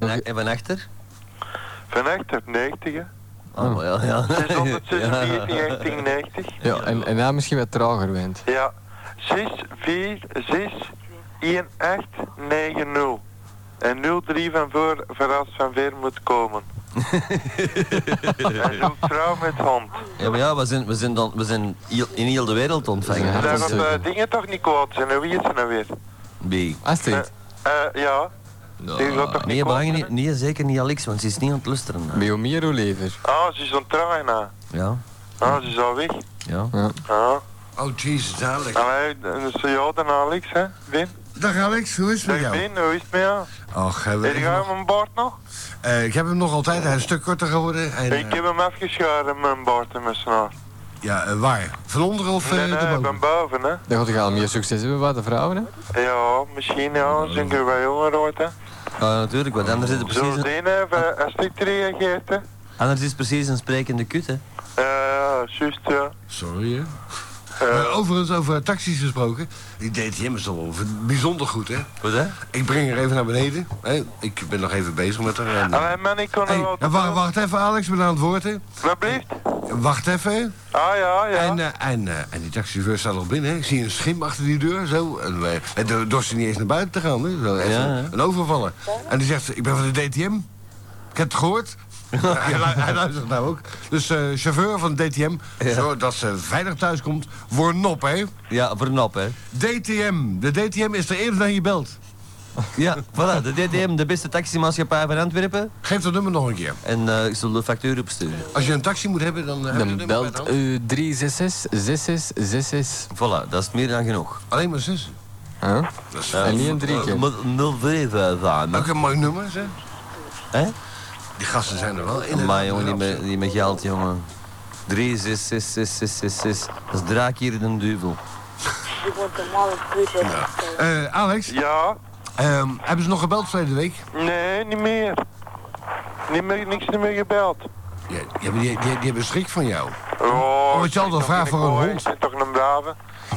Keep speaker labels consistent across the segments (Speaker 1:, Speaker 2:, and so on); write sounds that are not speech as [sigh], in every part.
Speaker 1: Van, en van achter?
Speaker 2: Van achter 90, hè.
Speaker 1: Oh, maar ja, ja. [laughs]
Speaker 2: 646, 1990.
Speaker 3: Ja, en, en daar misschien wat trager wint.
Speaker 2: Ja. 6, 4, 6, 1, 8, 9, 0. En 0, 3 van voor, verrast van ver moet komen. Hij zoekt trouw met hand.
Speaker 1: Ja, maar ja, we zijn, we zijn, dan, we zijn heel- in heel de wereld te ontvangen.
Speaker 3: Ja,
Speaker 1: hè.
Speaker 2: Daar
Speaker 3: dat
Speaker 2: gaat
Speaker 3: is
Speaker 2: eh,
Speaker 3: zeker.
Speaker 2: dingen toch niet kwaad zijn, hè? wie is er nou weer?
Speaker 1: B.
Speaker 3: Astrid,
Speaker 2: Eh, ja. Die gaat toch
Speaker 1: Nee,
Speaker 2: niet
Speaker 1: Bang,
Speaker 2: kwaad
Speaker 1: niet,
Speaker 2: zijn?
Speaker 1: nee, zeker niet Alex, want ze is niet aan het lusteren. hè.
Speaker 3: bij Omiro lever.
Speaker 2: Ah, ze is aan het trouwen, hè.
Speaker 1: Ja,
Speaker 2: Ah, ze is al weg.
Speaker 1: ja.
Speaker 2: Ah.
Speaker 4: Oh, Jesus, Alex.
Speaker 2: Allee, dat is ja, dan Alex, hè. Ben.
Speaker 4: Dag Alex, hoe is het met
Speaker 2: Dag
Speaker 4: jou?
Speaker 2: Ben, hoe is het met jou?
Speaker 4: Och, hebben we
Speaker 2: Heb
Speaker 4: even
Speaker 2: je
Speaker 4: nog-
Speaker 2: hem mijn baard nog?
Speaker 4: Eh, ik heb hem nog altijd, hij is een stuk korter geworden. En,
Speaker 2: Ik
Speaker 4: eh,
Speaker 2: heb hem afgeschoren, mijn baard en mijn snaar.
Speaker 4: Ja, eh, waar? Van onderen of eh,
Speaker 2: Nee, nee,
Speaker 4: erboven?
Speaker 2: van boven, hè.
Speaker 3: Dan gaat hij al meer succes hebben bij de vrouwen, hè?
Speaker 2: Ja, misschien ja, zijn we wel jonger ooit, hè.
Speaker 1: Ja, natuurlijk, want anders is het
Speaker 2: Zo eh,
Speaker 1: precies een,
Speaker 2: zien, hè, van- als dit reageert, hè.
Speaker 1: anders is het precies een sprekende kut, hè.
Speaker 2: Eh, juist, ja.
Speaker 4: Sorry, hè?
Speaker 2: Eh,
Speaker 4: Maar overigens, over taxis gesproken. Die DTM is toch wel bijzonder goed, hè?
Speaker 1: Goed, hè?
Speaker 4: Ik breng haar even naar beneden. hè? Ik ben nog even bezig met haar. en, eh,
Speaker 2: Allee, man, ik kon
Speaker 4: hey,
Speaker 2: er wel...
Speaker 4: ja, wacht, wacht even, Alex, we zijn aan het woord, hè?
Speaker 2: Wat blijft?
Speaker 4: Wacht even. hè?
Speaker 2: Ah, ja, ja.
Speaker 4: En, eh, en, eh, en die taxichauffeur staat al binnen, hè? Ik zie een schim achter die deur, zo. En wij- en do- dorst hij niet eens naar buiten te gaan, hè? Zo, even
Speaker 1: Ja, hè?
Speaker 4: Een overvaller. En die zegt, ik ben van de DTM. Ik heb het gehoord. hij, lu- hij luistert nou ook. Dus eh, chauffeur van de DTM, zodat ze veilig thuis komt, voor een nop, hè?
Speaker 1: Ja, voor een nap, hè.
Speaker 4: DTM. De DTM is er eerder dan je belt.
Speaker 1: Ja, voilà, de DTM, de beste taximaatschappij van Antwerpen.
Speaker 4: Geef dat nummer nog een keer.
Speaker 1: En eh, ik zal de factuur opsturen.
Speaker 4: Als je een taxi moet hebben, dan eh, heb je het
Speaker 3: Dan
Speaker 4: nummer bij de
Speaker 3: belt
Speaker 4: hand.
Speaker 3: u 366-6666.
Speaker 1: Voilà, dat is meer dan genoeg. Eh,
Speaker 4: Alleen maar zes.
Speaker 3: Huh?
Speaker 4: Dat is
Speaker 3: En niet een drie keer.
Speaker 1: Moet 0,5 aan.
Speaker 4: ook een mooi nummer, zeg.
Speaker 1: Hè?
Speaker 4: Die gasten zijn er wel in.
Speaker 1: Maar jongen, die met, die met geld, jongen. 3, 6, 6, 6, 6, 6, 6. Dat is draak hier in een duivel.
Speaker 5: Je wordt normaal goed.
Speaker 4: Eh, Alex,
Speaker 2: Ja,
Speaker 4: ehm, hebben ze nog gebeld verleden week?
Speaker 2: nee, niet meer. Niet meer, niks niet meer gebeld.
Speaker 4: Ja, die, hebben- die, die, die hebben schrik van jou.
Speaker 2: Oh,
Speaker 4: Wordt Hm. je altijd
Speaker 2: ik
Speaker 4: gevraagd
Speaker 2: ben
Speaker 4: voor een
Speaker 2: toch-
Speaker 4: hond?
Speaker 2: Ik ben toch een brave.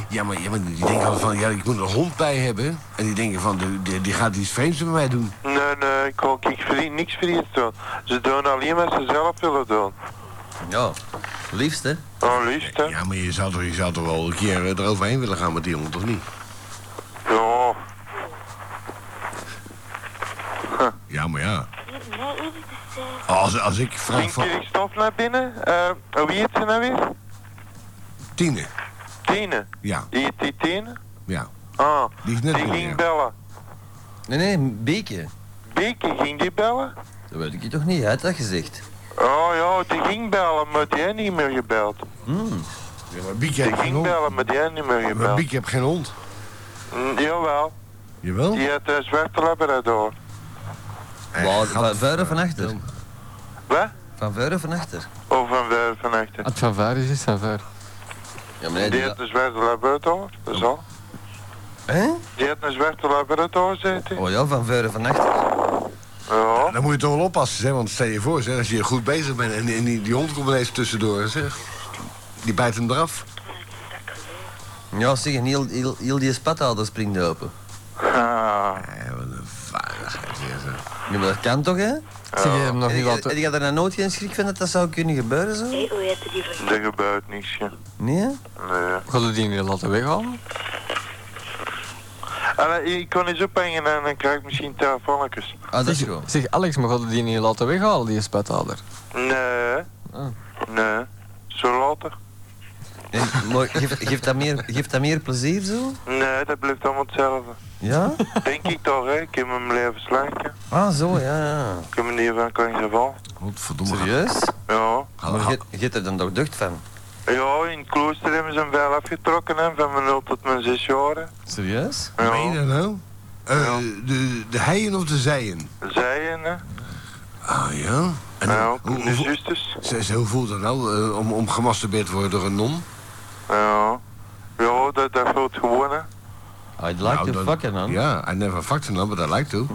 Speaker 4: Ja, maar, ja, maar die denken altijd van, ja, ik moet een hond bij hebben. En die denken van, de- die, die gaat iets vreemds met mij doen.
Speaker 2: Nee, nee, ik kon ik verdien niks verdiend doen. Ze doen alleen wat ze zelf willen doen.
Speaker 1: Ja, liefst, hè?
Speaker 2: Oh, liefst, hè? Ja.
Speaker 4: Ja, maar je zou toch, je zou toch wel een keer eh, eroverheen willen gaan met die hond, of niet? Ja, maar ja. Als, als ik vraag
Speaker 2: Ging
Speaker 4: van
Speaker 2: er stof naar binnen? Eh, wie heet ze nou weer?
Speaker 4: Tine.
Speaker 2: Tine.
Speaker 4: Ja,
Speaker 2: Die heet die Tine?
Speaker 4: ja.
Speaker 2: Ah,
Speaker 4: Die is net
Speaker 2: die
Speaker 4: binnen,
Speaker 2: ging
Speaker 4: ja.
Speaker 2: bellen.
Speaker 1: Nee, nee, een beekje.
Speaker 2: Beekje, ging die bellen?
Speaker 1: Dat weet ik je toch niet uit, dat gezegd.
Speaker 2: Oh ja, die ging bellen, maar die heeft niet meer gebeld.
Speaker 4: Ja, maar Bieke
Speaker 2: Die
Speaker 4: heeft geen
Speaker 2: ging
Speaker 4: hond.
Speaker 2: bellen, maar die heeft niet meer
Speaker 4: Maar
Speaker 2: gebeld.
Speaker 4: Bieke heeft geen hond.
Speaker 2: Mm, jawel,
Speaker 4: Jawel?
Speaker 2: die had een zwarte labrador.
Speaker 1: Maar van vuur of van achter?
Speaker 2: Wat?
Speaker 1: Van vuur of van achter?
Speaker 2: Of een ver van achter.
Speaker 3: Het van ver is, is van ver.
Speaker 1: Ja, maar nee,
Speaker 2: Die
Speaker 1: die...
Speaker 2: had een zwarte labrador, dat is al.
Speaker 1: Hè?
Speaker 2: Die had een zwarte labrador, zei hij.
Speaker 1: Oh ja, van vuur of van achter.
Speaker 2: Ja.
Speaker 4: Dan moet je toch wel oppassen, hè? want stel je voor, zeg, als je goed bezig bent en, en die, die hond komt ineens tussendoor, zeg. Die bijt hem eraf.
Speaker 1: Ja, zeg, en heel, heel, heel die spathader springt open.
Speaker 2: Ah,
Speaker 4: Eh, wat een vaardigheid. zeg, zeg.
Speaker 1: Ja, maar dat kan toch, hè?
Speaker 3: Zie je hem nog
Speaker 1: En
Speaker 3: niet
Speaker 1: je- en
Speaker 3: laten...
Speaker 1: je had er nou nooit geen schrik van dat dat zou kunnen gebeuren, zo?
Speaker 5: Hoe heette die van?
Speaker 2: er gebeurt niks, ja.
Speaker 1: Nee, hè?
Speaker 2: Nee.
Speaker 3: Gaat u die niet laten weghalen?
Speaker 2: Allee, ik kan eens ophangen en dan krijg ik misschien telefoontjes.
Speaker 1: Ah, dat is
Speaker 3: Zeg,
Speaker 1: gewoon.
Speaker 3: zeg Alex, maar gaat u die niet laten weghalen, die spethouder?
Speaker 2: Nee.
Speaker 3: Ah.
Speaker 2: Nee. Zo later.
Speaker 1: En- maar geeft, geeft, dat meer, geeft dat meer plezier, zo?
Speaker 2: Nee, dat blijft allemaal hetzelfde.
Speaker 1: Ja?
Speaker 2: Denk ik toch, hè. Ik heb mijn leven slanken.
Speaker 1: Ah, zo, ja, ja.
Speaker 2: Ik heb me niet van kan geval.
Speaker 4: Godverdomme.
Speaker 1: Serieus?
Speaker 2: Ja.
Speaker 1: Maar je- je hebt er dan toch ducht van?
Speaker 2: Ja, in het klooster hebben ze hem wel afgetrokken, hè. Van mijn 0 tot mijn 6 jaar, hè.
Speaker 1: Serieus?
Speaker 4: Meen je
Speaker 2: Ja.
Speaker 4: dat nou? Eh,
Speaker 2: Ja.
Speaker 4: de, de heien of de zijen?
Speaker 2: Zijen, hè.
Speaker 4: Ah ja. En
Speaker 2: Ja, Dus-
Speaker 4: hoe,
Speaker 2: de
Speaker 4: hoe, hoe,
Speaker 2: zusters.
Speaker 4: ze- ze- hoe voelt dat nou eh, om, om gemasturbeerd te worden door een non?
Speaker 2: Ja. Ja, dat, dat voelt gewoon, hè.
Speaker 1: I'd like
Speaker 4: Nou,
Speaker 1: to
Speaker 4: dat-
Speaker 1: fuck it, man.
Speaker 4: Ja, I never fucked een non, maar dat lijkt toe.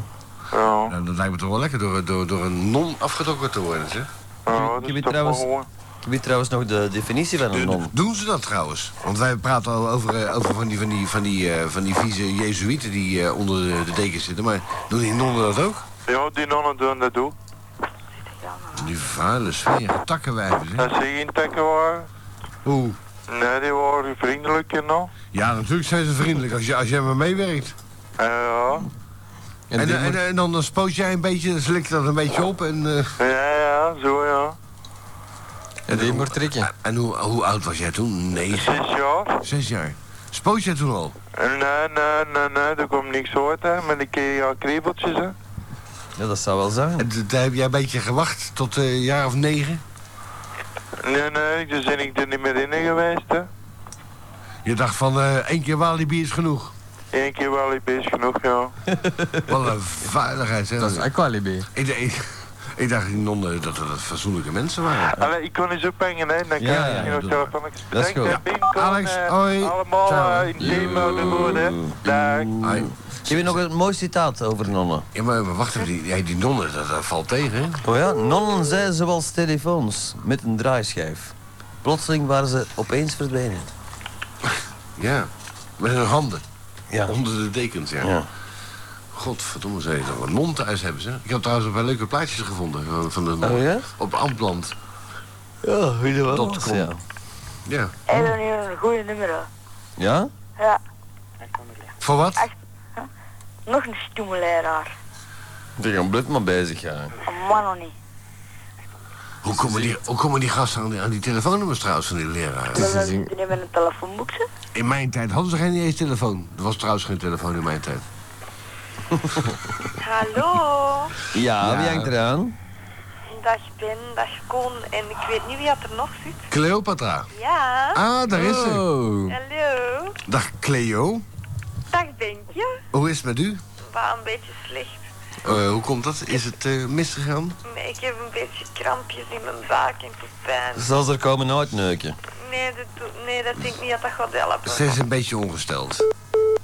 Speaker 2: Ja.
Speaker 4: Nou, dat lijkt me toch wel lekker door, door, door een non afgetrokken te worden, zeg.
Speaker 2: Ja,
Speaker 1: Ik
Speaker 2: dat
Speaker 1: heb
Speaker 2: is
Speaker 1: hier
Speaker 2: toch wel
Speaker 1: trouwens-
Speaker 2: gewoon.
Speaker 1: Ik weet trouwens nog de definitie van
Speaker 2: Dus-
Speaker 1: een non.
Speaker 4: Doen ze dat trouwens? Want wij praten al over, eh, over van, die, van, die, van, die, eh, van die vieze jezuïeten die eh, onder de, de dekens zitten. Maar doen die nonnen dat ook?
Speaker 2: Ja, die nonnen doen dat ook.
Speaker 4: Die vuile smerige takkenwijven, zeg.
Speaker 2: Als ze intakken waren,
Speaker 4: Oeh.
Speaker 2: nee, die waren vriendelijk en al.
Speaker 4: Ja, natuurlijk zijn ze vriendelijk als, je, als jij maar meewerkt.
Speaker 2: Eh, Ja,
Speaker 4: En,
Speaker 3: En, die
Speaker 4: eh, en,
Speaker 3: moet-
Speaker 4: eh, en dan spoot jij een beetje, dan slik je dat een beetje op. En, eh,
Speaker 2: ja, ja, zo ja.
Speaker 3: en die moet trekken.
Speaker 4: en hoe, hoe oud was jij toen? Negen?
Speaker 2: Zes jaar?
Speaker 4: Zes jaar. Spoot jij toen al?
Speaker 2: Nee, eh, nee, nee, nee, er komt niks uit, hè. Met een keer ja, kriebeltjes, hè.
Speaker 1: Ja, dat zou wel zijn.
Speaker 4: En d- daar heb jij een beetje gewacht tot eh, een jaar of negen?
Speaker 2: Nee, nee, dus ben ik er niet meer in geweest, hè.
Speaker 4: Je dacht van eh, één keer Walibi is genoeg.
Speaker 2: Eén keer wel ik best genoeg, ja.
Speaker 4: Wat een veiligheid, hè?
Speaker 3: Dat is Aqualibi.
Speaker 4: Ik, d- ik, ik dacht die nonnen dat dat fatsoenlijke mensen waren.
Speaker 2: Allee, ik kon eens ophangen, hè. Dan kan
Speaker 1: Ja,
Speaker 2: ik
Speaker 1: ja,
Speaker 2: je nog
Speaker 1: doe
Speaker 2: telefonisch
Speaker 1: Dat is
Speaker 2: bedankt, hè, Pim, Con,
Speaker 4: Alex,
Speaker 2: eh,
Speaker 4: hoi.
Speaker 2: Allemaal
Speaker 4: Ciao.
Speaker 2: eh, in team eh, de goede, hè. Dag.
Speaker 4: Ai,
Speaker 1: Heb je nog een mooi citaat over nonnen?
Speaker 4: Ah, Ja, maar, maar wacht even, die, ja, die nonnen, dat, dat valt tegen, hè?
Speaker 1: Oh ja, nonnen zijn zoals telefoons met een draaischijf. Plotseling waren ze opeens verdwenen.
Speaker 4: Ja. Met hun handen.
Speaker 1: Ja.
Speaker 4: Onder de dekens, ja.
Speaker 1: Ja.
Speaker 4: Godverdomme, zou je toch een non thuis hebben, ze? Ik heb trouwens een paar leuke plaatjes gevonden eh, van, van de non.
Speaker 1: Oh, ja?
Speaker 4: Op Ampland.
Speaker 1: Ja, weet je wel.
Speaker 4: Dat kon.
Speaker 1: Ja?
Speaker 4: Ja.
Speaker 5: En dan hier een goede nummer. hoor.
Speaker 1: ja?
Speaker 5: Ja,
Speaker 4: Voor wat?
Speaker 5: nog een stoemeleraar.
Speaker 1: Ben je blut maar bezig, ja.
Speaker 5: Een man nog niet.
Speaker 4: Hoe komen die, hoe komen die gasten aan die, aan die telefoonnummers trouwens van die leraren?
Speaker 3: is
Speaker 5: Willen
Speaker 3: een-
Speaker 5: we niet met een telefoonboek ze?
Speaker 4: In mijn tijd hadden ze geen eens telefoon. Er was trouwens geen telefoon in mijn tijd.
Speaker 6: Hallo,
Speaker 1: Ja, wie hangt eraan?
Speaker 6: dag Ben, dag Con en ik weet niet wie dat er nog zit.
Speaker 4: Cleopatra.
Speaker 6: Ja,
Speaker 4: Ah, daar is ze.
Speaker 3: Oh.
Speaker 6: hallo.
Speaker 4: Dag Cleo.
Speaker 6: Dag Bentje.
Speaker 4: Hoe is het met u?
Speaker 6: Waar een beetje slecht.
Speaker 4: Eh, hoe komt dat? Is het eh, misgegaan?
Speaker 6: Nee, ik heb een beetje krampjes in mijn buik en tot pijn.
Speaker 1: Zal ze er komen nooit neuken?
Speaker 6: Nee, dat, doet- nee, dat denk ik niet dat dat gaat helpen.
Speaker 4: Ze is een beetje ongesteld.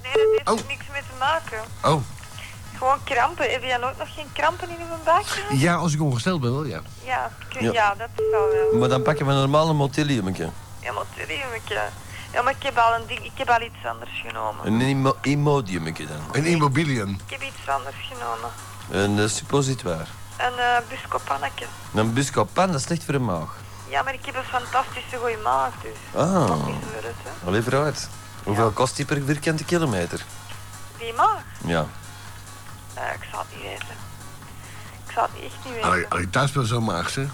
Speaker 6: Nee, dat heeft
Speaker 4: Oh.
Speaker 6: er niks mee te maken.
Speaker 4: Oh,
Speaker 6: Gewoon krampen. Heb jij nooit nog geen krampen in je buik gehad?
Speaker 4: ja, als ik ongesteld ben wel, ja.
Speaker 6: Ja, ik-
Speaker 1: Ja.
Speaker 6: ja. dat zal wel.
Speaker 1: Maar dan pakken we een normale motiliumke.
Speaker 6: Ja, maar serieus, ja, maar ik heb al een ding, ik heb al iets anders genomen.
Speaker 1: Een imo- imodiumke dan.
Speaker 4: Een immobilium.
Speaker 6: Ik heb iets anders genomen.
Speaker 1: Een eh, suppositoire.
Speaker 6: Een eh buscopannetje.
Speaker 1: Een buscopan, dat is slecht voor de maag.
Speaker 6: Ja, maar ik heb een fantastische goeie maag, dus.
Speaker 1: Ah,
Speaker 6: Is er het, hè?
Speaker 1: allee vooruit. Hoeveel kost die per vierkante kilometer?
Speaker 6: Die maag?
Speaker 1: Ja.
Speaker 6: Eh, ik zal het niet weten. Ik zal het echt niet weten.
Speaker 4: Als ik thuis ben zo maag, zeg.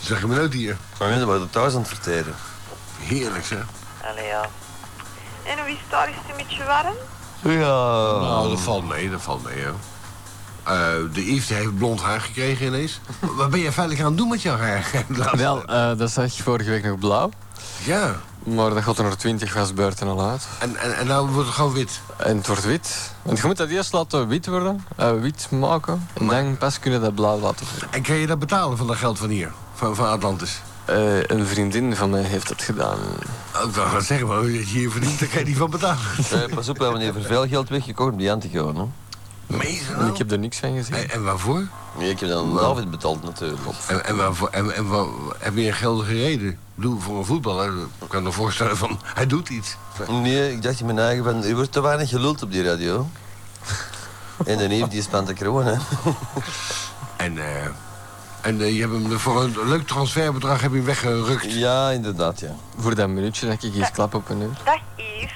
Speaker 4: Zeg je me nooit hier.
Speaker 1: Maar mensen worden thuis aan het verteren.
Speaker 4: Heerlijk, zeg.
Speaker 6: Allee, ja. En hoe is het daar? Is het een beetje warm?
Speaker 1: Ja.
Speaker 4: Nou, dat valt mee, dat valt mee, hoor. Eh, de Yves die heeft blond haar gekregen ineens. Wat ben je veilig aan het doen met jouw haar? [laughs]
Speaker 3: Wel, eh, dat zag je vorige week nog blauw.
Speaker 4: Ja,
Speaker 3: Maar dat gaat er nog 20 gasbeurten al uit.
Speaker 4: en, en, en nou wordt het gewoon wit.
Speaker 3: En het wordt wit. Want je moet dat eerst laten wit worden, eh, wit maken. En dan pas kunnen dat blauw laten worden.
Speaker 4: En kan je dat betalen van dat geld van hier? Van, van Atlantis?
Speaker 3: Eh, een vriendin van mij heeft dat gedaan.
Speaker 4: Oh, Ik wou gaan zeggen, maar hoe je het hier verdient, daar kan je niet van betalen.
Speaker 1: [laughs] Eh, pas op, we hebben hier voor veel geld weggekocht om die aan te gaan. Hè.
Speaker 4: Meestal.
Speaker 3: En ik heb er niks van gezien.
Speaker 4: nou? En, en waarvoor?
Speaker 1: Nee, ik heb dan David betaald natuurlijk.
Speaker 4: En, en waarvoor? En, en wa- heb je een geldige reden? Ik bedoel, voor een voetballer ik kan me voorstellen van, hij doet iets.
Speaker 1: Nee, ik dacht in mijn eigen van, er wordt te weinig geluld op die [laughs] radio. En dan heeft die spant de kroon, hè.
Speaker 4: En, eh, en eh, je hebt hem er voor een leuk transferbedrag heb je hem weggerukt.
Speaker 1: Ja, inderdaad, ja.
Speaker 3: Voor dat minuutje dat ik hier klap op een uur.
Speaker 6: Dag Yves.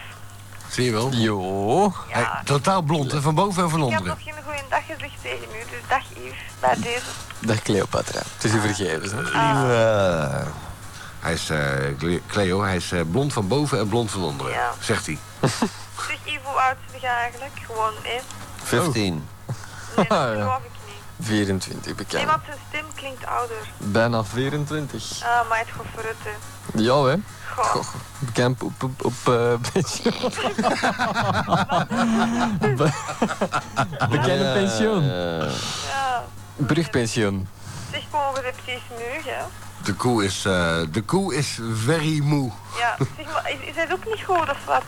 Speaker 4: Zie je wel?
Speaker 3: Jo.
Speaker 6: Ja.
Speaker 4: Hey, totaal blond, hè, van boven en van
Speaker 6: Ik heb
Speaker 4: onderen.
Speaker 6: nog geen goeie dag gezegd tegen u, dus dag Yves. Bij deze.
Speaker 3: Dag Cleopatra. Het is u vergeven. hè.
Speaker 1: Ah. Lieve.
Speaker 4: Hij is, eh, Cle- Cleo, hij is eh, blond van boven en blond van onderen,
Speaker 6: Ja.
Speaker 4: zegt hij.
Speaker 6: Zeg Yves, hoe oud ben je eigenlijk? Gewoon, hè?
Speaker 1: 15.
Speaker 6: Nee,
Speaker 3: Ja.
Speaker 6: dat geloof ik niet.
Speaker 3: 24
Speaker 6: Nee,
Speaker 3: bekend.
Speaker 6: want zijn stem klinkt ouder.
Speaker 3: Bijna 24.
Speaker 6: Ah, maar het gaat vooruit, hè.
Speaker 3: Ja, hè.
Speaker 6: Goh.
Speaker 3: Bekend op... op, op eh, [laughs] beetje. Be- Bekende pensioen.
Speaker 1: Ja.
Speaker 6: Ja.
Speaker 3: Brugpensioen.
Speaker 6: Zeg gewoon, je hebt deze muur, hè.
Speaker 4: De koe is, eh, de koe is very moe.
Speaker 6: Ja, zeg maar, is, is het ook niet goed of wat?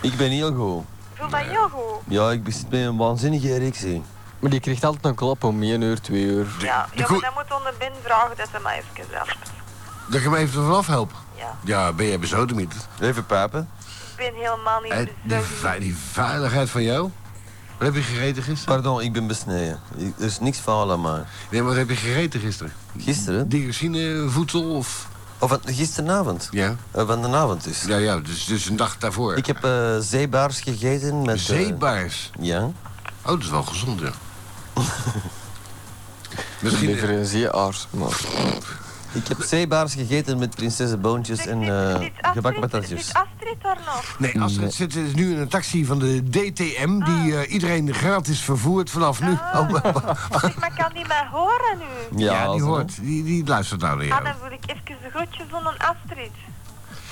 Speaker 1: Ik ben heel goed.
Speaker 6: Voel dat heel goed.
Speaker 1: Ja, ik bezit met een waanzinnige erectie.
Speaker 3: Maar die krijgt altijd een klap om 1 uur, 2 uur.
Speaker 6: Ja,
Speaker 4: de
Speaker 6: ja
Speaker 4: koe-
Speaker 6: maar dan moet onder Ben vragen dat hij mij even helpt.
Speaker 4: Dat ik hem even vanaf help.
Speaker 6: Ja.
Speaker 4: Ja, ben jij bezodemieterd?
Speaker 1: Even papen.
Speaker 6: Ik ben helemaal niet
Speaker 4: En die,
Speaker 6: bezig.
Speaker 4: ve- die veiligheid van jou? Wat heb je gegeten gisteren?
Speaker 1: Pardon, ik ben besneden. Ik- Er is niks fout aan mij.
Speaker 4: Nee, maar wat heb je gegeten gisteren?
Speaker 1: Gisteren?
Speaker 4: Dioxine voedsel of...
Speaker 1: Of van- gisteravond?
Speaker 4: Ja.
Speaker 1: Eh, van de avond dus.
Speaker 4: Ja, ja, dus, dus een dag daarvoor.
Speaker 1: Ik heb eh, zeebaars gegeten met... eh,
Speaker 4: Zeebaars.
Speaker 1: ja.
Speaker 4: Oh, dat is wel gezond, [laughs] ja.
Speaker 3: Liever
Speaker 4: Misschien...
Speaker 3: een zeeaars, maar...
Speaker 1: Ik heb zeebaars gegeten met prinsessenboontjes en eh,
Speaker 6: Zit Astrid-
Speaker 1: gebakken
Speaker 6: Zit
Speaker 1: patatjes.
Speaker 6: Astrid daar
Speaker 4: [laughs]
Speaker 6: nog?
Speaker 4: Nee, Astrid zit eh, nu in een taxi van de DTM... die eh, iedereen gratis vervoert vanaf nu. [laughs]
Speaker 6: Ah. Zeg, maar kan die mij horen nu?
Speaker 4: Ja, die
Speaker 1: zo.
Speaker 4: hoort. Die, die luistert nou naar
Speaker 6: Ah,
Speaker 4: jou.
Speaker 6: dan wil ik even de groetjes van een Astrid.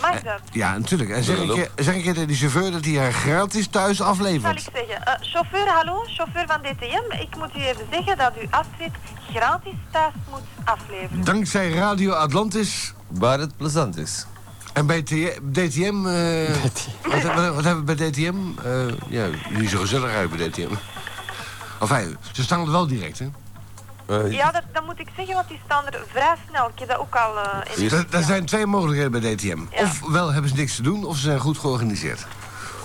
Speaker 6: Mag dat?
Speaker 4: Ja, natuurlijk. En zeg
Speaker 1: Doe
Speaker 4: ik,
Speaker 1: dat
Speaker 4: je- zeg ik je tegen die chauffeur dat hij haar gratis thuis
Speaker 6: Zal ik
Speaker 4: aflevert?
Speaker 6: zeggen. Eh, chauffeur, hallo, chauffeur van DTM. Ik moet u even zeggen dat u Astrid gratis thuis moet afleveren.
Speaker 4: Dankzij Radio Atlantis
Speaker 1: Waar het plezant is.
Speaker 4: en bij T- DTM... [laughs] eh, wat, wat- wat hebben we bij DTM? Eh, ja, niet zo gezellig uit bij DTM. Enfin, ze staan er wel direct, hè?
Speaker 1: Eh,
Speaker 6: Ja, dat, dat moet ik zeggen, want die staan er vrij snel. Ik heb dat ook al eh in
Speaker 4: Er er zijn twee mogelijkheden bij DTM.
Speaker 6: Ja.
Speaker 4: Ofwel hebben ze niks te doen, of ze zijn goed georganiseerd.